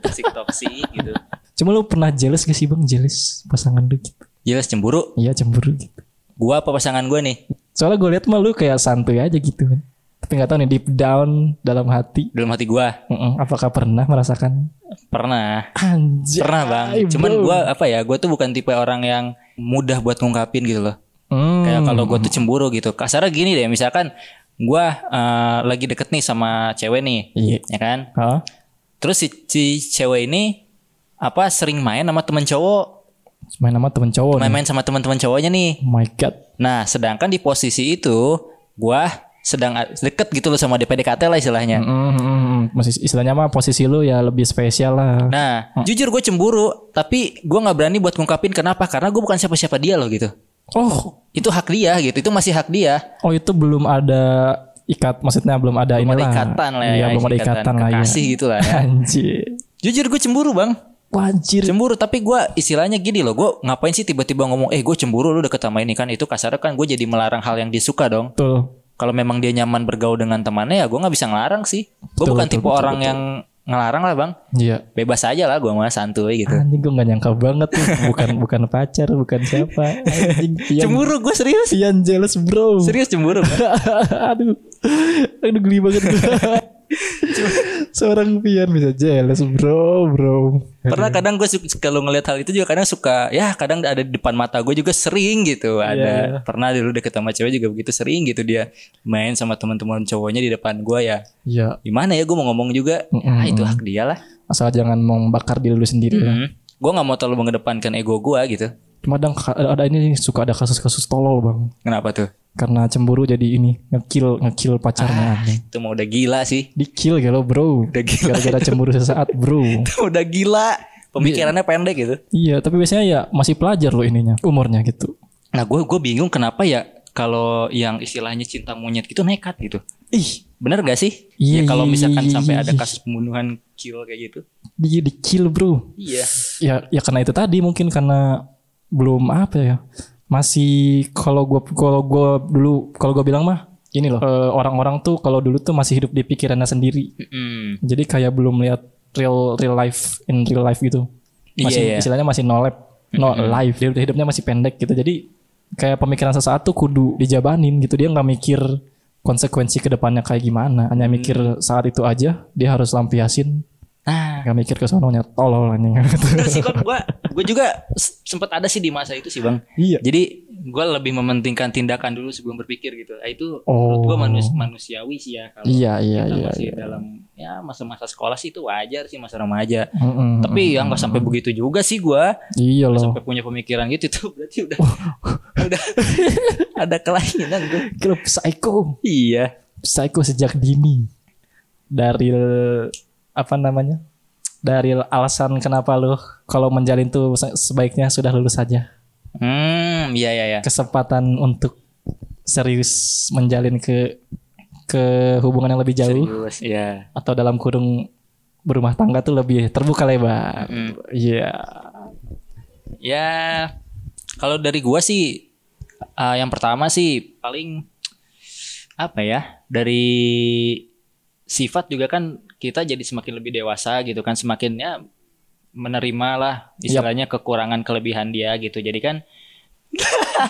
[SPEAKER 3] toxic toxic gitu
[SPEAKER 1] cuma lu pernah jealous gak sih bang jealous pasangan lu gitu
[SPEAKER 3] jelas cemburu
[SPEAKER 1] iya cemburu gitu
[SPEAKER 3] gua apa pasangan gua nih
[SPEAKER 1] soalnya gue liat mah lu kayak santuy aja gitu kan tapi nggak tahu nih deep down dalam hati
[SPEAKER 3] dalam hati gua
[SPEAKER 1] mm-mm, apakah pernah merasakan
[SPEAKER 3] pernah
[SPEAKER 1] Anjir.
[SPEAKER 3] pernah bang cuman gua apa ya gua tuh bukan tipe orang yang mudah buat ngungkapin gitu loh
[SPEAKER 1] Hmm.
[SPEAKER 3] kayak kalau gua tuh cemburu gitu kasarnya gini deh misalkan gua eh, lagi deket nih sama cewek nih
[SPEAKER 1] Iya.
[SPEAKER 3] ya kan
[SPEAKER 1] Hah?
[SPEAKER 3] terus si, si cewek ini apa sering main sama temen cowok
[SPEAKER 1] Main sama temen cowok. nih.
[SPEAKER 3] main-main sama teman-teman cowoknya nih
[SPEAKER 1] Oh my god.
[SPEAKER 3] Nah, sedangkan di posisi itu, gua sedang a- deket gitu loh sama DPDKT lah istilahnya.
[SPEAKER 1] Mm, mm, mm, mm. Masih istilahnya mah posisi lu ya lebih spesial lah.
[SPEAKER 3] Nah,
[SPEAKER 1] Hmm.
[SPEAKER 3] jujur gue cemburu, tapi gua nggak berani buat ngungkapin kenapa, karena gue bukan siapa-siapa dia loh gitu.
[SPEAKER 1] Oh,
[SPEAKER 3] Itu hak dia gitu, itu masih hak dia.
[SPEAKER 1] oh itu belum ada ikat, maksudnya belum ada
[SPEAKER 3] Belum ada
[SPEAKER 1] inilah.
[SPEAKER 3] ikatan lah ya,
[SPEAKER 1] Iya, belum ada ikatan lah ya.
[SPEAKER 3] kekasih gitu lah ya.
[SPEAKER 1] Anjir.
[SPEAKER 3] Jujur gue cemburu bang,
[SPEAKER 1] Wah, anjir.
[SPEAKER 3] cemburu. Tapi gua istilahnya gini loh, gue ngapain sih tiba-tiba ngomong, eh gue cemburu lu deket sama ini kan? Itu kasarnya kan gue jadi melarang hal yang dia suka dong.
[SPEAKER 1] Betul.
[SPEAKER 3] kalau memang dia nyaman bergaul dengan temannya ya gue nggak bisa ngelarang sih gue
[SPEAKER 1] Betul,
[SPEAKER 3] bukan
[SPEAKER 1] betul,
[SPEAKER 3] tipe
[SPEAKER 1] betul,
[SPEAKER 3] orang yang ngelarang lah bang
[SPEAKER 1] Iya.
[SPEAKER 3] bebas aja lah gue mah santuy gitu
[SPEAKER 1] Anjing gue gak nyangka banget tuh. Bukan bukan pacar, bukan siapa. Anjing pian.
[SPEAKER 3] cemburu gue serius
[SPEAKER 1] Pian jealous bro.
[SPEAKER 3] serius cemburu Bang.
[SPEAKER 1] aduh aduh geli banget gua. seorang pian bisa jealous bro bro
[SPEAKER 3] pernah kadang gue kalau ngelihat hal itu juga kadang suka ya kadang ada di depan mata gue juga sering gitu
[SPEAKER 1] Iya,
[SPEAKER 3] ada pernah dulu deket sama cewek juga begitu sering gitu dia main sama teman-teman cowoknya di depan gue ya
[SPEAKER 1] ya
[SPEAKER 3] gimana ya gue mau ngomong juga ah itu hak dia lah
[SPEAKER 1] asal jangan membakar diri lu sendiri
[SPEAKER 3] Hmm.
[SPEAKER 1] lah.
[SPEAKER 3] gue nggak mau terlalu mengedepankan ego gue gitu
[SPEAKER 1] cuma kadang ka- ada, ada ini suka ada kasus-kasus tolol bang
[SPEAKER 3] kenapa tuh
[SPEAKER 1] karena cemburu jadi ini ngekill ngekill pacarnya anjing.
[SPEAKER 3] itu mau udah gila sih
[SPEAKER 1] dikill ya lo bro
[SPEAKER 3] Udah gila.
[SPEAKER 1] gara-gara cemburu sesaat bro
[SPEAKER 3] udah gila pemikirannya pendek gitu
[SPEAKER 1] iya tapi biasanya ya masih pelajar lo ininya umurnya gitu
[SPEAKER 3] nah gue gue bingung kenapa ya kalau yang istilahnya cinta monyet gitu nekat gitu
[SPEAKER 1] ih
[SPEAKER 3] bener gak sih
[SPEAKER 1] Iya,
[SPEAKER 3] ya
[SPEAKER 1] iya,
[SPEAKER 3] kalau misalkan
[SPEAKER 1] iya,
[SPEAKER 3] sampai
[SPEAKER 1] iya,
[SPEAKER 3] ada
[SPEAKER 1] iya.
[SPEAKER 3] kasus pembunuhan kill kayak gitu
[SPEAKER 1] dia dikill bro
[SPEAKER 3] iya
[SPEAKER 1] ya ya karena itu tadi mungkin karena belum apa ya masih kalau gua kalau gua dulu kalau gua bilang mah ini loh eh, orang-orang tuh kalau dulu tuh masih hidup di pikirannya sendiri
[SPEAKER 3] Mm-mm.
[SPEAKER 1] jadi kayak belum lihat real real life in real life gitu masih
[SPEAKER 3] Iya, iya.
[SPEAKER 1] istilahnya masih no lab no life dia hidupnya masih pendek gitu jadi kayak pemikiran sesaat tuh kudu dijabanin gitu dia nggak mikir konsekuensi kedepannya kayak gimana hanya
[SPEAKER 3] Hmm.
[SPEAKER 1] mikir saat itu aja dia harus lampiasin
[SPEAKER 3] nah
[SPEAKER 1] nggak mikir ke sononya tolol anjing
[SPEAKER 3] bener sih bang gue gue juga s- sempet ada sih di masa itu sih bang
[SPEAKER 1] iya
[SPEAKER 3] jadi gue lebih mementingkan tindakan dulu sebelum berpikir gitu Nah, itu
[SPEAKER 1] Oh.
[SPEAKER 3] menurut gue manus- manusiawi sih ya kalau
[SPEAKER 1] Iya iya
[SPEAKER 3] kita
[SPEAKER 1] iya.
[SPEAKER 3] masih
[SPEAKER 1] iya.
[SPEAKER 3] dalam ya ya masa-masa sekolah sih itu wajar sih masa remaja.
[SPEAKER 1] Mm-mm.
[SPEAKER 3] Tapi ya nggak
[SPEAKER 1] Hmm.
[SPEAKER 3] sampai begitu juga sih gua.
[SPEAKER 1] Iya
[SPEAKER 3] Nggak
[SPEAKER 1] loh.
[SPEAKER 3] sampai punya pemikiran gitu tuh berarti udah
[SPEAKER 1] Oh.
[SPEAKER 3] udah ada kelainan tuh.
[SPEAKER 1] Klub psycho.
[SPEAKER 3] Iya.
[SPEAKER 1] Psycho sejak dini. Dari apa namanya? Dari alasan kenapa lu kalau menjalin tuh se- sebaiknya sudah lulus saja.
[SPEAKER 3] Hmm, iya iya iya.
[SPEAKER 1] Kesempatan untuk serius menjalin ke ke hubungan yang lebih jauh
[SPEAKER 3] Serius, iya.
[SPEAKER 1] atau dalam kurung berumah tangga tuh lebih terbuka lebar.
[SPEAKER 3] Hmm.
[SPEAKER 1] Iya.
[SPEAKER 3] Ya kalau dari gua sih eh, yang pertama sih paling apa ya? Dari sifat juga kan kita jadi semakin lebih dewasa gitu kan semakin ya menerima lah istilahnya kekurangan kelebihan dia gitu. Jadi kan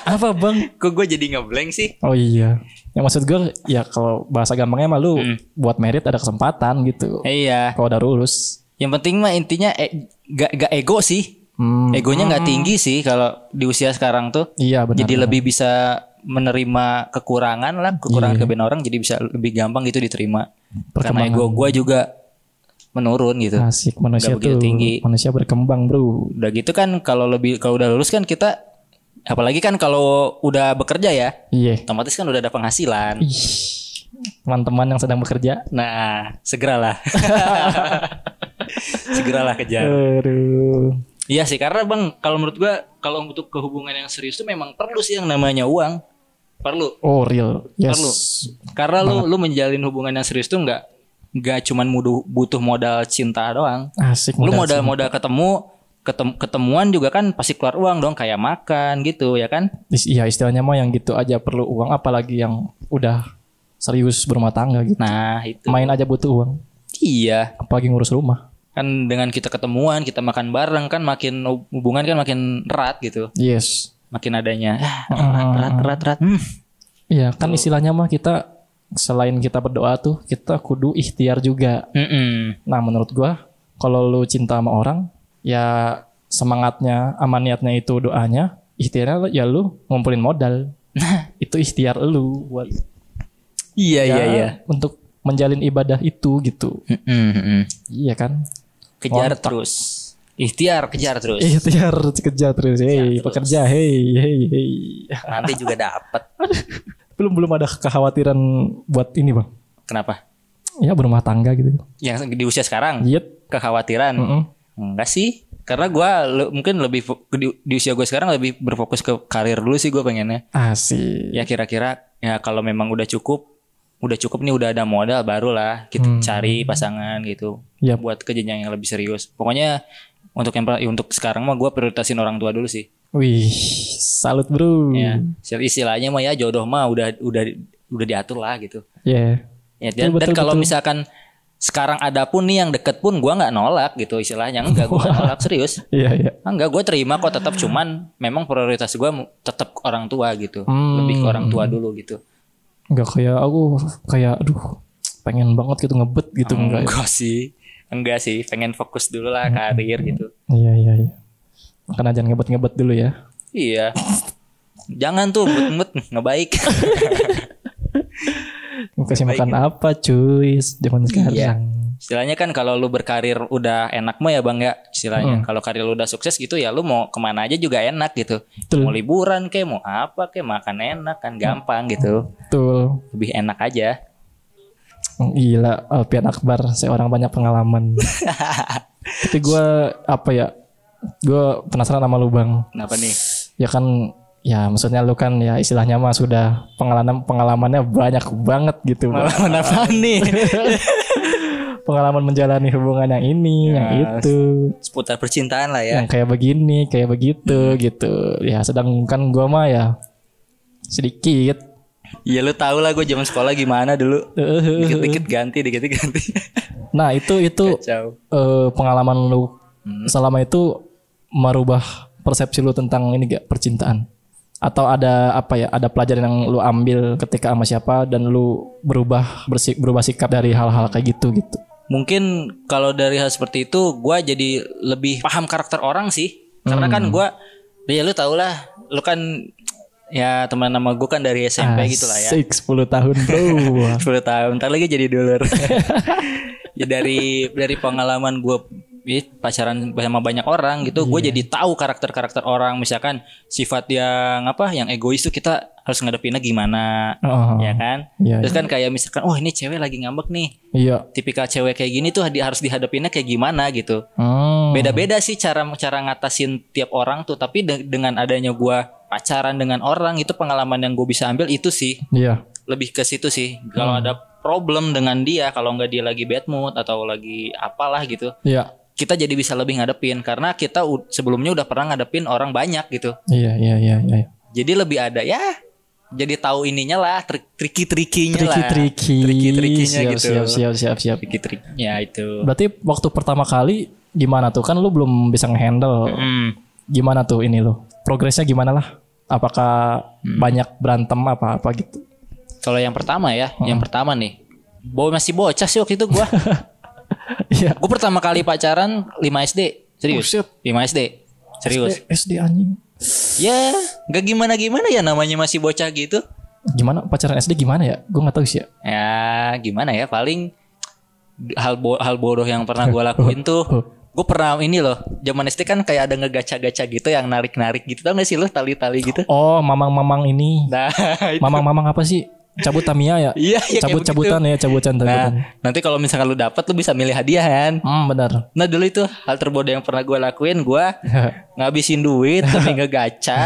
[SPEAKER 1] Apa bang?
[SPEAKER 3] kok gue jadi ngeblank sih?
[SPEAKER 1] Oh iya. Yang maksud gue ya kalau bahasa gampangnya mah lu
[SPEAKER 3] Hmm.
[SPEAKER 1] buat merit ada kesempatan gitu.
[SPEAKER 3] Iya.
[SPEAKER 1] Kalau udah lulus.
[SPEAKER 3] Yang penting mah intinya e- gak, gak ego sih.
[SPEAKER 1] Hmm,
[SPEAKER 3] Egonya nggak tinggi sih kalau di usia sekarang tuh.
[SPEAKER 1] iya benar.
[SPEAKER 3] jadi lebih bisa menerima kekurangan lah kekurangan
[SPEAKER 1] Iya.
[SPEAKER 3] kebenaran orang jadi bisa lebih gampang gitu diterima karena
[SPEAKER 1] Perkembangan.
[SPEAKER 3] ego gue juga menurun gitu
[SPEAKER 1] Asik manusia
[SPEAKER 3] Nggak begitu
[SPEAKER 1] tuh
[SPEAKER 3] tinggi.
[SPEAKER 1] manusia berkembang bro.
[SPEAKER 3] udah gitu kan kalau lebih kalau udah lulus kan kita apalagi kan kalau udah bekerja ya
[SPEAKER 1] Iya.
[SPEAKER 3] otomatis kan udah ada penghasilan
[SPEAKER 1] Ih, Teman-teman yang sedang bekerja.
[SPEAKER 3] nah segeralah segeralah kejar
[SPEAKER 1] Aduh.
[SPEAKER 3] iya sih karena bang kalau menurut gue kalau untuk kehubungan yang serius tuh memang perlu sih yang namanya uang perlu
[SPEAKER 1] Oh real. Yes.
[SPEAKER 3] Perlu. Karena lu lu menjalin hubungan yang serius tuh nggak nggak cuman mudu- butuh modal cinta doang.
[SPEAKER 1] Asik.
[SPEAKER 3] Lu
[SPEAKER 1] modal
[SPEAKER 3] modal modal ketemu ketem- ketemuan juga kan pasti keluar uang dong kayak makan gitu ya kan?
[SPEAKER 1] Is- Iya istilahnya mah yang gitu aja perlu uang apalagi yang udah serius berumah tangga gitu.
[SPEAKER 3] Nah, itu.
[SPEAKER 1] Main aja butuh uang.
[SPEAKER 3] Iya,
[SPEAKER 1] Apalagi ngurus rumah.
[SPEAKER 3] kan dengan kita ketemuan, kita makan bareng kan makin hub- hubungan kan makin erat gitu.
[SPEAKER 1] Yes.
[SPEAKER 3] Makin adanya ah, erat erat erat. Hmm.
[SPEAKER 1] Iya kan istilahnya mah kita selain kita berdoa tuh kita kudu ikhtiar juga.
[SPEAKER 3] Mm-mm.
[SPEAKER 1] Nah menurut gua kalau lu cinta sama orang ya semangatnya sama niatnya itu doanya ikhtiarnya ya lu ngumpulin modal. itu ikhtiar lu buat
[SPEAKER 3] Iya
[SPEAKER 1] ya,
[SPEAKER 3] iya iya.
[SPEAKER 1] untuk menjalin ibadah itu gitu.
[SPEAKER 3] Mm-mm, mm-mm.
[SPEAKER 1] Iya kan?
[SPEAKER 3] Kejar terus. Ikhtiar kejar terus.
[SPEAKER 1] Ikhtiar kerja terus. Hei,
[SPEAKER 3] terus.
[SPEAKER 1] pekerja. Hei, hei, hei.
[SPEAKER 3] Nanti juga dapat.
[SPEAKER 1] Belum belum ada kekhawatiran buat ini, Bang.
[SPEAKER 3] Kenapa?
[SPEAKER 1] Ya berumah tangga gitu.
[SPEAKER 3] Yang di usia sekarang
[SPEAKER 1] Yet.
[SPEAKER 3] kekhawatiran.
[SPEAKER 1] Mm-mm.
[SPEAKER 3] Enggak sih, karena gue mungkin lebih fo- di, di usia gue sekarang lebih berfokus ke karir dulu sih gue pengennya.
[SPEAKER 1] Asik.
[SPEAKER 3] Ya kira-kira ya kalau memang udah cukup, udah cukup nih udah ada modal barulah kita cari pasangan gitu.
[SPEAKER 1] Hmm. Yap.
[SPEAKER 3] Buat ke jenjang yang lebih serius. Pokoknya untuk yang per- untuk sekarang mah gue prioritasin orang tua dulu sih.
[SPEAKER 1] Wih, salut bro.
[SPEAKER 3] Ya,
[SPEAKER 1] Ya.
[SPEAKER 3] istilahnya mah ya jodoh mah udah udah udah diatur lah gitu.
[SPEAKER 1] Iya,
[SPEAKER 3] Ya, dan,
[SPEAKER 1] Betul,
[SPEAKER 3] dan
[SPEAKER 1] betul,
[SPEAKER 3] kalau
[SPEAKER 1] betul.
[SPEAKER 3] misalkan sekarang ada pun nih yang deket pun gue nggak nolak gitu istilahnya enggak gue nolak serius
[SPEAKER 1] Iya, iya.
[SPEAKER 3] Ah, Enggak, gue terima kok tetap cuman memang prioritas gue tetap ke orang tua gitu,
[SPEAKER 1] Hmm.
[SPEAKER 3] lebih ke orang tua dulu gitu.
[SPEAKER 1] Enggak kayak aku kayak aduh, pengen banget gitu ngebet gitu enggak. ya. Hmm.
[SPEAKER 3] Enggak sih, enggak sih, pengen fokus dulu lah karir gitu.
[SPEAKER 1] Iya, iya, iya. Makan aja ngebet-ngebet dulu ya.
[SPEAKER 3] Iya, jangan tuh mut-mut ngebaik.
[SPEAKER 1] Kasih makan apa cuy zaman sekarang.
[SPEAKER 3] Istilahnya kan kalau lu berkarir udah enak mah ya bang ya, istilahnya.
[SPEAKER 1] Hmm.
[SPEAKER 3] Kalau karir lu udah sukses gitu ya lu mau kemana aja juga enak gitu.
[SPEAKER 1] Betul. Hmm.
[SPEAKER 3] Mau liburan kek, mau apa kek, makan enak kan gampang gitu,
[SPEAKER 1] Betul. Mm,
[SPEAKER 3] lebih enak aja.
[SPEAKER 1] Gila, Alpian Akbar seorang banyak pengalaman. Tapi gue apa ya? Gue penasaran sama lu bang.
[SPEAKER 3] Kenapa nih?
[SPEAKER 1] Ya kan, ya maksudnya lu kan ya istilahnya mah sudah pengalaman pengalamannya banyak banget gitu. Bang.
[SPEAKER 3] Pengalaman apa nih?
[SPEAKER 1] Pengalaman menjalani hubungan yang ini, yang itu,
[SPEAKER 3] Seputar percintaan lah ya. Hmm.
[SPEAKER 1] yang kayak begini, kayak begitu gitu. Ya sedangkan gue mah ya sedikit.
[SPEAKER 3] Iya lu tau lah gue zaman sekolah gimana dulu
[SPEAKER 1] Eh,
[SPEAKER 3] Dikit-dikit ganti, dikit-dikit ganti
[SPEAKER 1] Nah itu itu
[SPEAKER 3] Jauh
[SPEAKER 1] eh, pengalaman lu
[SPEAKER 3] Hmm.
[SPEAKER 1] selama itu merubah persepsi lu tentang ini gak percintaan atau ada apa ya ada pelajaran yang lu ambil ketika sama siapa dan lu berubah bersik berubah sikap dari hal-hal kayak gitu gitu
[SPEAKER 3] Mungkin kalau dari hal seperti itu Gue jadi iya, lebih paham karakter orang sih Karena kan gue Ya lu tau lah Lu kan ya teman nama gue kan dari SMP gitu lah ya.
[SPEAKER 1] Asik, 10 tahun bro.
[SPEAKER 3] 10 tahun ntar lagi jadi dolar ya dari dari pengalaman gue pacaran sama banyak orang gitu gue jadi tahu karakter karakter orang misalkan sifat yang apa yang egois tuh kita harus ngadepinnya gimana
[SPEAKER 1] Oh,
[SPEAKER 3] ya kan
[SPEAKER 1] Iya,
[SPEAKER 3] terus kan kayak misalkan oh ini cewek lagi ngambek nih
[SPEAKER 1] Iya.
[SPEAKER 3] tipikal cewek kayak gini tuh di- harus dihadapinnya kayak gimana gitu
[SPEAKER 1] Hmm.
[SPEAKER 3] beda-beda sih cara cara ngatasin tiap orang tuh tapi de- dengan adanya gue pacaran dengan orang itu pengalaman yang gue bisa ambil itu sih
[SPEAKER 1] Iya.
[SPEAKER 3] lebih ke situ sih kalau ada problem dengan dia kalau nggak dia lagi bad mood atau lagi apalah gitu
[SPEAKER 1] Iya.
[SPEAKER 3] kita jadi bisa lebih ngadepin karena kita u- sebelumnya udah pernah ngadepin orang banyak gitu
[SPEAKER 1] Iya, iya, iya, iya.
[SPEAKER 3] jadi lebih ada ya jadi tahu ininya lah triki trikinya lah
[SPEAKER 1] Triki-triki.
[SPEAKER 3] triki-trikinya
[SPEAKER 1] Siap,
[SPEAKER 3] gitu
[SPEAKER 1] Siap, siap, siap, siap.
[SPEAKER 3] triki triknya itu
[SPEAKER 1] Berarti waktu pertama kali gimana tuh? Kan lu belum bisa ngehandle.
[SPEAKER 3] Hmm.
[SPEAKER 1] Gimana tuh ini lu? Progresnya gimana lah? Apakah
[SPEAKER 3] Hmm.
[SPEAKER 1] banyak berantem apa-apa gitu?
[SPEAKER 3] kalau yang pertama ya
[SPEAKER 1] Hmm.
[SPEAKER 3] yang pertama nih Bo masih bocah sih waktu itu gua
[SPEAKER 1] Iya.
[SPEAKER 3] gua pertama kali pacaran 5 SD serius
[SPEAKER 1] Oh, shit.
[SPEAKER 3] 5 SD serius
[SPEAKER 1] Eh, SD anjing.
[SPEAKER 3] Ya, nggak gimana gimana ya namanya masih bocah gitu.
[SPEAKER 1] Gimana pacaran SD gimana ya? Gue nggak tahu sih ya.
[SPEAKER 3] Ya, gimana ya? Paling hal bo- hal bodoh yang pernah gue lakuin tuh, gue pernah ini loh. Zaman SD kan kayak ada ngegaca-gaca gitu yang narik-narik gitu, tau gak sih lo tali-tali gitu?
[SPEAKER 1] Oh, mamang-mamang ini.
[SPEAKER 3] Nah, itu.
[SPEAKER 1] Mamang-mamang apa sih? Cabut Tamiya ya?
[SPEAKER 3] Iya, iya, kayak
[SPEAKER 1] Cabut-cabutan ya, cabutan-cabutan.
[SPEAKER 3] nah nanti kalau misalkan lu dapet lu bisa milih hadiah kan?
[SPEAKER 1] Hmm, benar.
[SPEAKER 3] Nah dulu itu hal terbodoh yang pernah gue lakuin gue ngabisin duit tapi ngegaca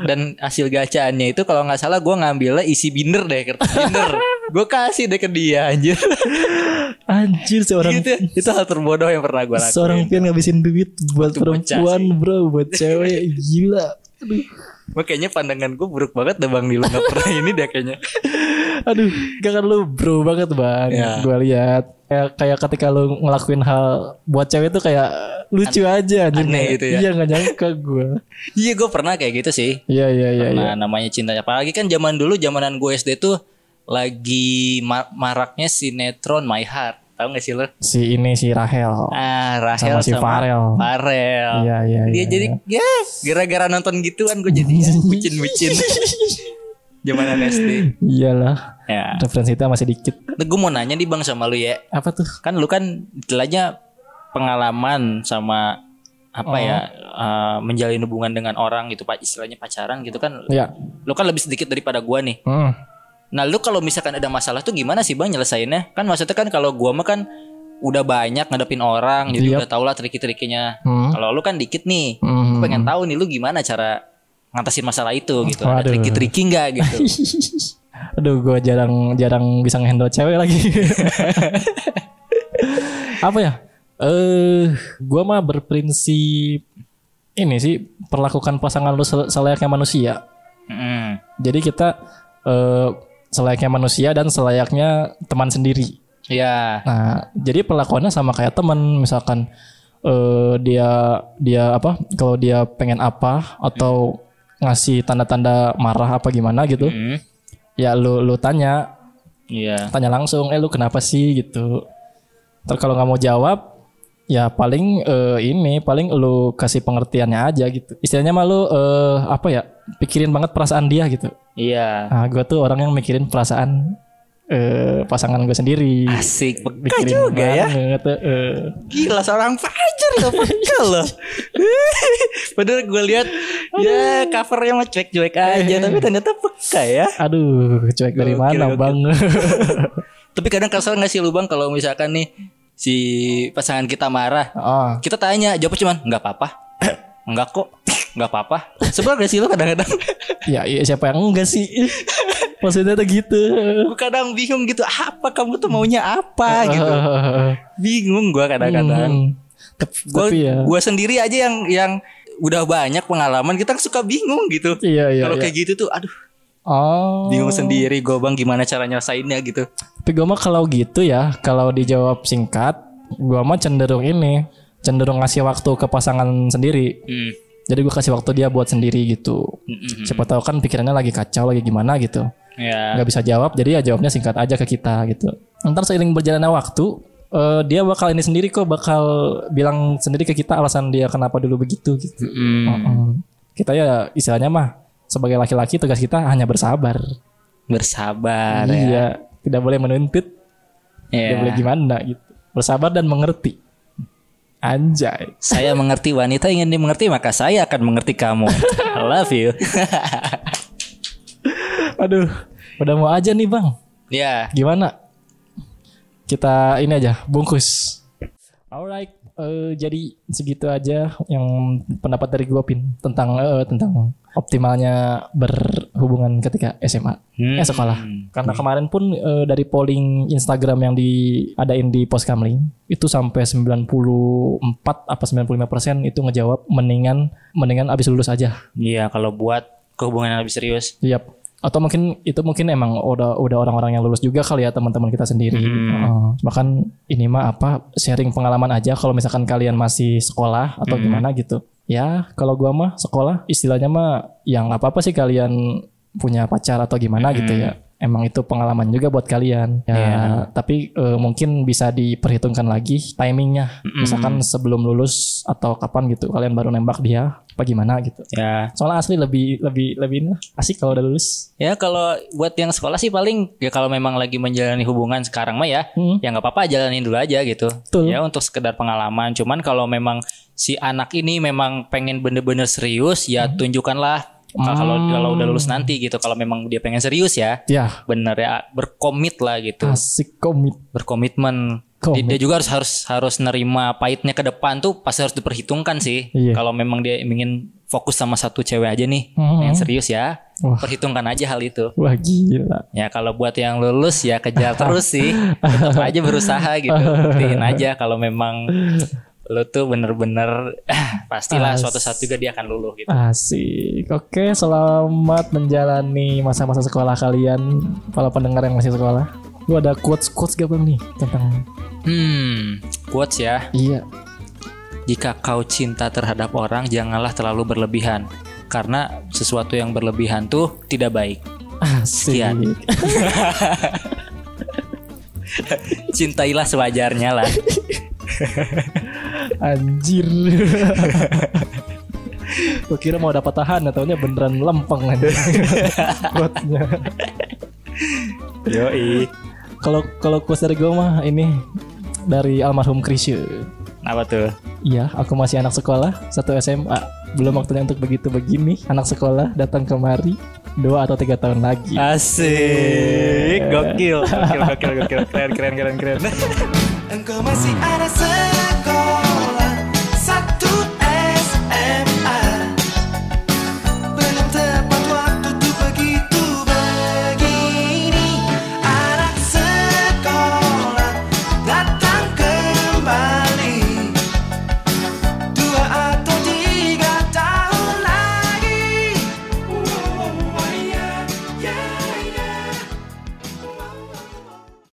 [SPEAKER 3] dan hasil gacaannya itu kalau nggak salah gue ngambilnya isi binder deh kertas binder gue kasih deh ke dia anjir
[SPEAKER 1] Anjir seorang
[SPEAKER 3] gitu itu hal terbodoh yang pernah gue lakuin
[SPEAKER 1] seorang pian ngabisin duit buat perempuan, Bro, buat cewek. Gila. Aduh.
[SPEAKER 3] makanya pandangan gue buruk banget deh bang Nilo nggak pernah ini deh kayaknya
[SPEAKER 1] Aduh, gak kan lu bro banget, Bang.
[SPEAKER 3] Ya.
[SPEAKER 1] Gua lihat kayak kayak ketika lu ngelakuin hal buat cewek tuh kayak lucu aja anjir.
[SPEAKER 3] aneh gitu ya.
[SPEAKER 1] Iya, gak nyangka gua.
[SPEAKER 3] iya gue pernah kayak gitu sih
[SPEAKER 1] Iya, iya, iya, iya.
[SPEAKER 3] nah namanya cinta apalagi kan zaman dulu zamanan gue SD tuh lagi ma- maraknya sinetron My Heart tau gak sih lo
[SPEAKER 1] Si ini si Rahel.
[SPEAKER 3] Ah, Rahel
[SPEAKER 1] Sama si Farel.
[SPEAKER 3] Farel.
[SPEAKER 1] Iya, iya,
[SPEAKER 3] Dia
[SPEAKER 1] iya,
[SPEAKER 3] jadi ya gara-gara nonton gituan gue jadi ya, bucin-bucin. Jamanan SD.
[SPEAKER 1] Iyalah.
[SPEAKER 3] Ya.
[SPEAKER 1] Referensi kita masih dikit.
[SPEAKER 3] gue mau nanya nih Bang sama lu ya.
[SPEAKER 1] Apa tuh?
[SPEAKER 3] Kan lu kan istilahnya pengalaman sama apa
[SPEAKER 1] Oh.
[SPEAKER 3] ya eh, menjalin hubungan dengan orang gitu pak istilahnya pacaran gitu kan
[SPEAKER 1] Iya.
[SPEAKER 3] lu kan lebih sedikit daripada gua nih
[SPEAKER 1] Hmm.
[SPEAKER 3] nah lu kalau misalkan ada masalah tuh gimana sih bang nyelesainnya kan maksudnya kan kalau gua mah kan udah banyak ngadepin orang jadi
[SPEAKER 1] Yap.
[SPEAKER 3] udah tau lah triki-trikinya
[SPEAKER 1] Iya. Hmm.
[SPEAKER 3] kalau lu kan dikit nih Gua
[SPEAKER 1] Hmm. Oh,
[SPEAKER 3] pengen tahu nih lu gimana cara ngatasin masalah itu gitu.
[SPEAKER 1] Waduh.
[SPEAKER 3] Ada triki-triki nggak gitu?
[SPEAKER 1] Aduh, gue jarang jarang bisa ngehandle cewek lagi. Apa ya? Eh, gua mah berprinsip ini sih perlakukan pasangan lu sel- selayaknya manusia.
[SPEAKER 3] Mm.
[SPEAKER 1] Jadi kita eh selayaknya manusia dan selayaknya teman sendiri.
[SPEAKER 3] Ya,
[SPEAKER 1] Nah, jadi perlakuannya sama kayak teman, misalkan eh dia dia apa? Kalau dia pengen apa atau ngasih tanda-tanda marah apa gimana gitu,
[SPEAKER 3] Mm.
[SPEAKER 1] ya lu lu tanya,
[SPEAKER 3] Iya.
[SPEAKER 1] tanya langsung, eh lu kenapa sih gitu. Terus kalau nggak mau jawab, ya paling eh, ini paling lu kasih pengertiannya aja gitu. Istilahnya mah lu eh, apa ya? Pikirin banget perasaan dia gitu.
[SPEAKER 3] Iya.
[SPEAKER 1] Nah, gue tuh orang yang mikirin perasaan eh, pasangan gue sendiri.
[SPEAKER 3] Asik peka
[SPEAKER 1] Mikirin
[SPEAKER 3] juga ya.
[SPEAKER 1] banget, eh.
[SPEAKER 3] Gila seorang pacar lo peka loh. Padahal gue lihat ya covernya mah cuek-cuek aja tapi ternyata peka ya.
[SPEAKER 1] Aduh, cuek dari
[SPEAKER 3] Gokil,
[SPEAKER 1] mana
[SPEAKER 3] gokil.
[SPEAKER 1] bang?
[SPEAKER 3] Tapi kadang kesel nggak sih lu bang kalau misalkan nih si pasangan kita marah,
[SPEAKER 1] oh,
[SPEAKER 3] kita tanya jawabnya cuman nggak apa-apa, nggak kok, nggak apa-apa. Sebel gak sih lu kadang-kadang?
[SPEAKER 1] ya, iya, siapa yang enggak sih? Maksudnya tuh gitu.
[SPEAKER 3] gue kadang bingung gitu apa kamu tuh maunya apa gitu bingung gue
[SPEAKER 1] Hmm.
[SPEAKER 3] kadang-kadang
[SPEAKER 1] Tep-
[SPEAKER 3] gue
[SPEAKER 1] tapi ya.
[SPEAKER 3] gua sendiri aja yang yang udah banyak pengalaman kita suka bingung gitu
[SPEAKER 1] Iya, iya,
[SPEAKER 3] kalau
[SPEAKER 1] iya.
[SPEAKER 3] kayak gitu tuh aduh
[SPEAKER 1] Oh.
[SPEAKER 3] bingung sendiri gue bang gimana cara nyelesainnya gitu
[SPEAKER 1] Tapi gue mah kalau gitu ya, kalau dijawab singkat, gue mah cenderung ini, cenderung ngasih waktu ke pasangan sendiri.
[SPEAKER 3] hmm.
[SPEAKER 1] Jadi gue kasih waktu dia buat sendiri gitu.
[SPEAKER 3] Mm-mm.
[SPEAKER 1] Siapa tahu kan pikirannya lagi kacau, lagi gimana gitu.
[SPEAKER 3] ya
[SPEAKER 1] nggak bisa jawab jadi ya jawabnya singkat aja ke kita gitu ntar seiring berjalannya waktu eh, dia bakal ini sendiri kok bakal bilang
[SPEAKER 3] Hmm. Oh.
[SPEAKER 1] sendiri ke kita alasan dia kenapa dulu begitu gitu
[SPEAKER 3] Mm-mm.
[SPEAKER 1] Mm. kita ya istilahnya mah sebagai laki-laki tugas kita hanya bersabar.
[SPEAKER 3] bersabar ya.
[SPEAKER 1] iya, tidak boleh menuntut,
[SPEAKER 3] Ya.
[SPEAKER 1] tidak boleh gimana gitu. Bersabar dan mengerti. Anjay.
[SPEAKER 3] Saya mengerti wanita ingin dimengerti maka saya akan mengerti kamu. I love you.
[SPEAKER 1] Aduh, udah mau aja nih bang.
[SPEAKER 3] ya.
[SPEAKER 1] Gimana? Kita ini aja bungkus. Alright, eh, jadi segitu aja yang pendapat dari gue pin tentang eh, tentang optimalnya berhubungan ketika SMA.
[SPEAKER 3] Hmm.
[SPEAKER 1] Eh sekolah. Karena kemarin pun eh, dari polling Instagram yang diadain di Pos Kamling itu sampai 94 apa 95% itu ngejawab mendingan mendingan abis lulus aja.
[SPEAKER 3] Iya, kalau buat kehubungan yang lebih serius.
[SPEAKER 1] Yap. Atau mungkin itu mungkin emang udah udah orang-orang yang lulus juga kali ya teman-teman kita sendiri.
[SPEAKER 3] Gitu. Hmm. Oh.
[SPEAKER 1] Heeh. bahkan ini mah apa sharing pengalaman aja kalau misalkan kalian masih sekolah atau gimana gitu. Ya, kalau gua mah sekolah istilahnya mah yang apa-apa sih kalian punya pacar atau gimana gitu ya. Emang itu pengalaman juga buat kalian. Ya,
[SPEAKER 3] Iya.
[SPEAKER 1] tapi eh, mungkin bisa diperhitungkan lagi timingnya.
[SPEAKER 3] Hmm.
[SPEAKER 1] Misalkan sebelum lulus atau kapan gitu kalian baru nembak dia apa gimana gitu.
[SPEAKER 3] Ya.
[SPEAKER 1] Soalnya asli lebih lebih lebih ini lah. asik kalau udah lulus.
[SPEAKER 3] Ya kalau buat yang sekolah sih paling ya kalau memang lagi menjalani hubungan sekarang mah ya
[SPEAKER 1] Hmm.
[SPEAKER 3] ya nggak apa-apa jalanin dulu aja gitu.
[SPEAKER 1] Betul.
[SPEAKER 3] Ya untuk sekedar pengalaman. Cuman kalau memang si anak ini memang pengen bener-bener serius ya
[SPEAKER 1] Mhm.
[SPEAKER 3] tunjukkanlah Kalau- kalau
[SPEAKER 1] Hmm.
[SPEAKER 3] kalau udah lulus nanti gitu kalau memang dia pengen serius ya
[SPEAKER 1] Ya,
[SPEAKER 3] bener ya berkomit lah gitu
[SPEAKER 1] asik komit.
[SPEAKER 3] berkomitmen
[SPEAKER 1] Komit.
[SPEAKER 3] dia juga harus harus harus nerima pahitnya ke depan tuh pasti harus diperhitungkan sih
[SPEAKER 1] Iya.
[SPEAKER 3] kalau memang dia ingin fokus sama satu cewek aja nih
[SPEAKER 1] Mhm.
[SPEAKER 3] yang serius ya
[SPEAKER 1] Wah.
[SPEAKER 3] perhitungkan aja hal itu
[SPEAKER 1] Wah gila.
[SPEAKER 3] ya kalau buat yang lulus ya kejar terus sih tetap aja berusaha gitu buktiin aja kalau memang lu tuh bener-bener pastilah
[SPEAKER 1] As-
[SPEAKER 3] suatu saat juga dia akan luluh gitu
[SPEAKER 1] Asik. Oke, selamat menjalani masa-masa sekolah kalian para pendengar yang masih sekolah. Lu ada quotes-quotes gak Bang nih tentang
[SPEAKER 3] hmm quotes ya
[SPEAKER 1] Iya.
[SPEAKER 3] Jika kau cinta terhadap orang, janganlah terlalu berlebihan. Karena sesuatu yang berlebihan tuh tidak baik.
[SPEAKER 1] Asik.
[SPEAKER 3] Sekian. Cintailah sewajarnya lah.
[SPEAKER 1] Anjir. Gue kira mau dapat tahan ataunya beneran lempeng aja. Quotesnya.
[SPEAKER 3] Yoi.
[SPEAKER 1] Kalau kalau quotes dari gue mah ini dari almarhum Krisye.
[SPEAKER 3] Apa tuh?
[SPEAKER 1] Iya, aku masih anak sekolah, satu SMA. Belum waktunya untuk begitu begini. Anak sekolah datang kemari dua atau tiga tahun lagi.
[SPEAKER 3] Asik. Gokil. Gokil, gokil, gokil. Keren, keren, keren, keren.
[SPEAKER 4] Engkau masih anak sekolah
[SPEAKER 3] Oh,